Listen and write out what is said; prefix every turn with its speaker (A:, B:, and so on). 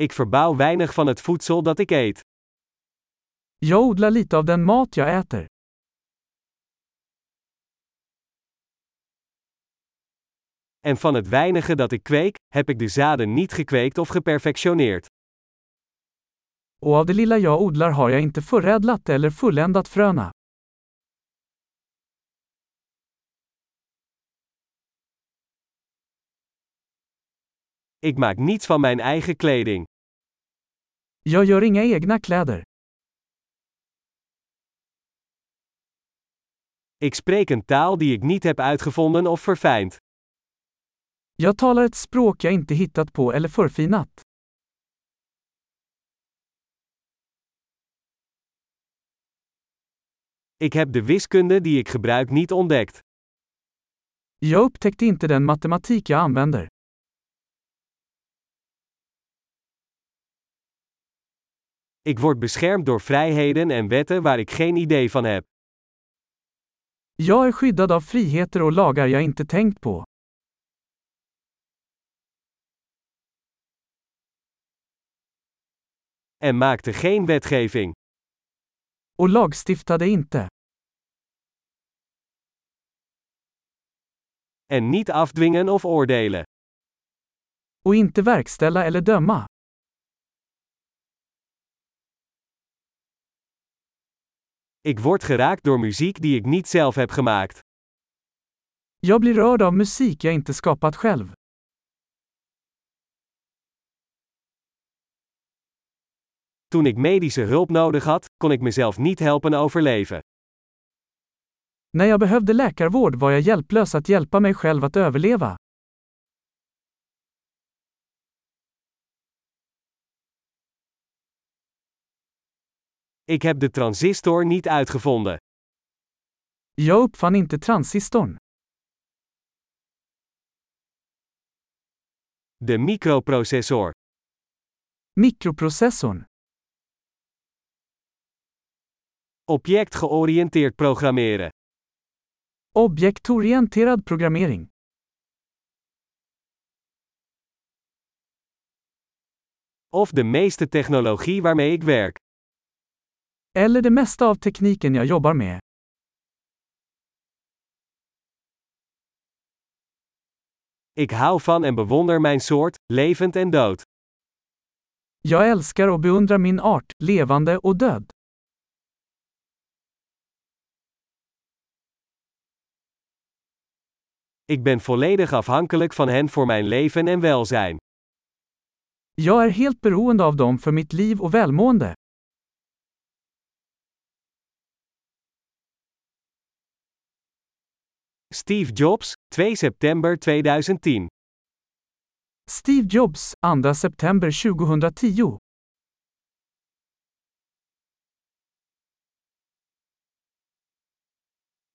A: Ik verbouw weinig van het voedsel dat ik eet.
B: Jag odlar lite av den mat jag äter.
A: En van het weinige dat ik kweek, heb ik de zaden niet gekweekt of geperfectioneerd.
B: Och av det lilla jag odlar har jag inte förädlat eller fulländat fröna.
A: Ik maak niets van mijn eigen kleding.
B: Jag gör inga egna kläder.
A: Ik spreek een taal die ik niet heb uitgevonden of verfijnd.
B: Jag talar ett språk jag inte hittat på eller förfinat.
A: Ik heb de wiskunde die ik gebruik niet ontdekt.
B: Jag upptäckte inte den matematik jag använder.
A: Ik word beschermd door vrijheden en wetten waar ik geen idee van heb.
B: Jag är skyddad av friheter och lagar jag inte tänkt på.
A: En maakte geen wetgeving.
B: Och lagstiftade inte.
A: En niet afdwingen of oordelen.
B: Och inte verkställa eller döma.
A: Ik word geraakt door muziek die ik niet zelf heb gemaakt.
B: Jag blir rörd av musik jag inte skapat själv.
A: Toen ik medische hulp nodig had, kon ik mezelf niet helpen overleven.
B: När jag behövde läkarvård var jag hjälplös att hjälpa mig själv att överleva.
A: Ik heb de transistor niet uitgevonden.
B: Jag uppfann inte transistorn.
A: De microprocessor.
B: Mikroprocessorn.
A: Objectgeoriënteerd programmeren.
B: Objektorienterad programmering.
A: Of de meeste technologie waarmee ik werk.
B: Eller det mesta av tekniken jag jobbar med.
A: Ik hou van en bewonder mijn soort, levend en dood.
B: Jag älskar och beundrar min art, levande och död.
A: Ik ben volledig afhankelijk van hen voor mijn leven en welzijn.
B: Jag är helt beroende av dem för mitt liv och välmående.
A: Steve Jobs, 2 september 2010.
B: Steve Jobs, 2 september 2010